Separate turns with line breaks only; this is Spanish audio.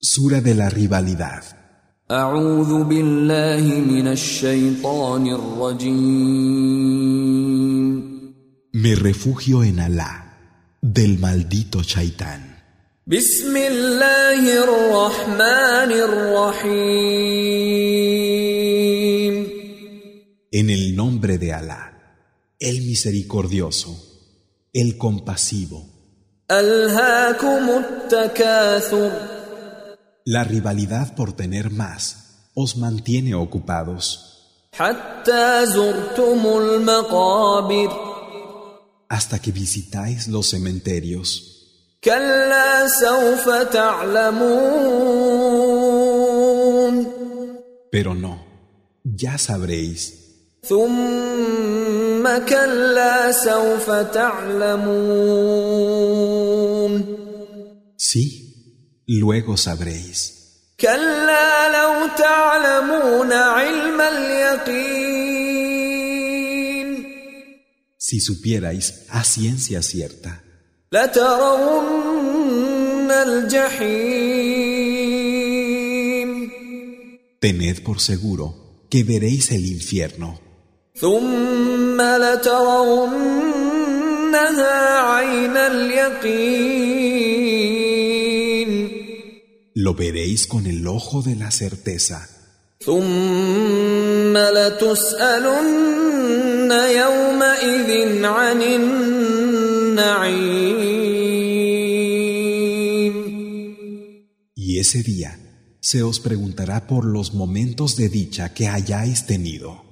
Sura de la rivalidad.
أعوذ بالله من الشيطان الرجيم
Me refugio en Alá, del maldito Shaitán.
بسم الله الرحمن الرحيم
En el nombre de Alá, el misericordioso, el compasivo.
ألهاكم التكاثر
La rivalidad por tener más os mantiene ocupados
حتى زرتم المقابر
hasta que visitáis los cementerios.
كلا سوف تعلمون
Pero no, ya sabréis,
ثم كلا سوف تعلمون
sí, luego sabréis.
كلا لو تعلمون علم اليقين
Si supierais a ciencia cierta,
لترون الجحيم
tened por seguro que veréis el infierno.
ثم لترونها عين اليقين
Lo veréis con el ojo de la certeza.
ثم لتسألن يومئذ عن النعيم
Y ese día se os preguntará por los momentos de dicha que hayáis tenido.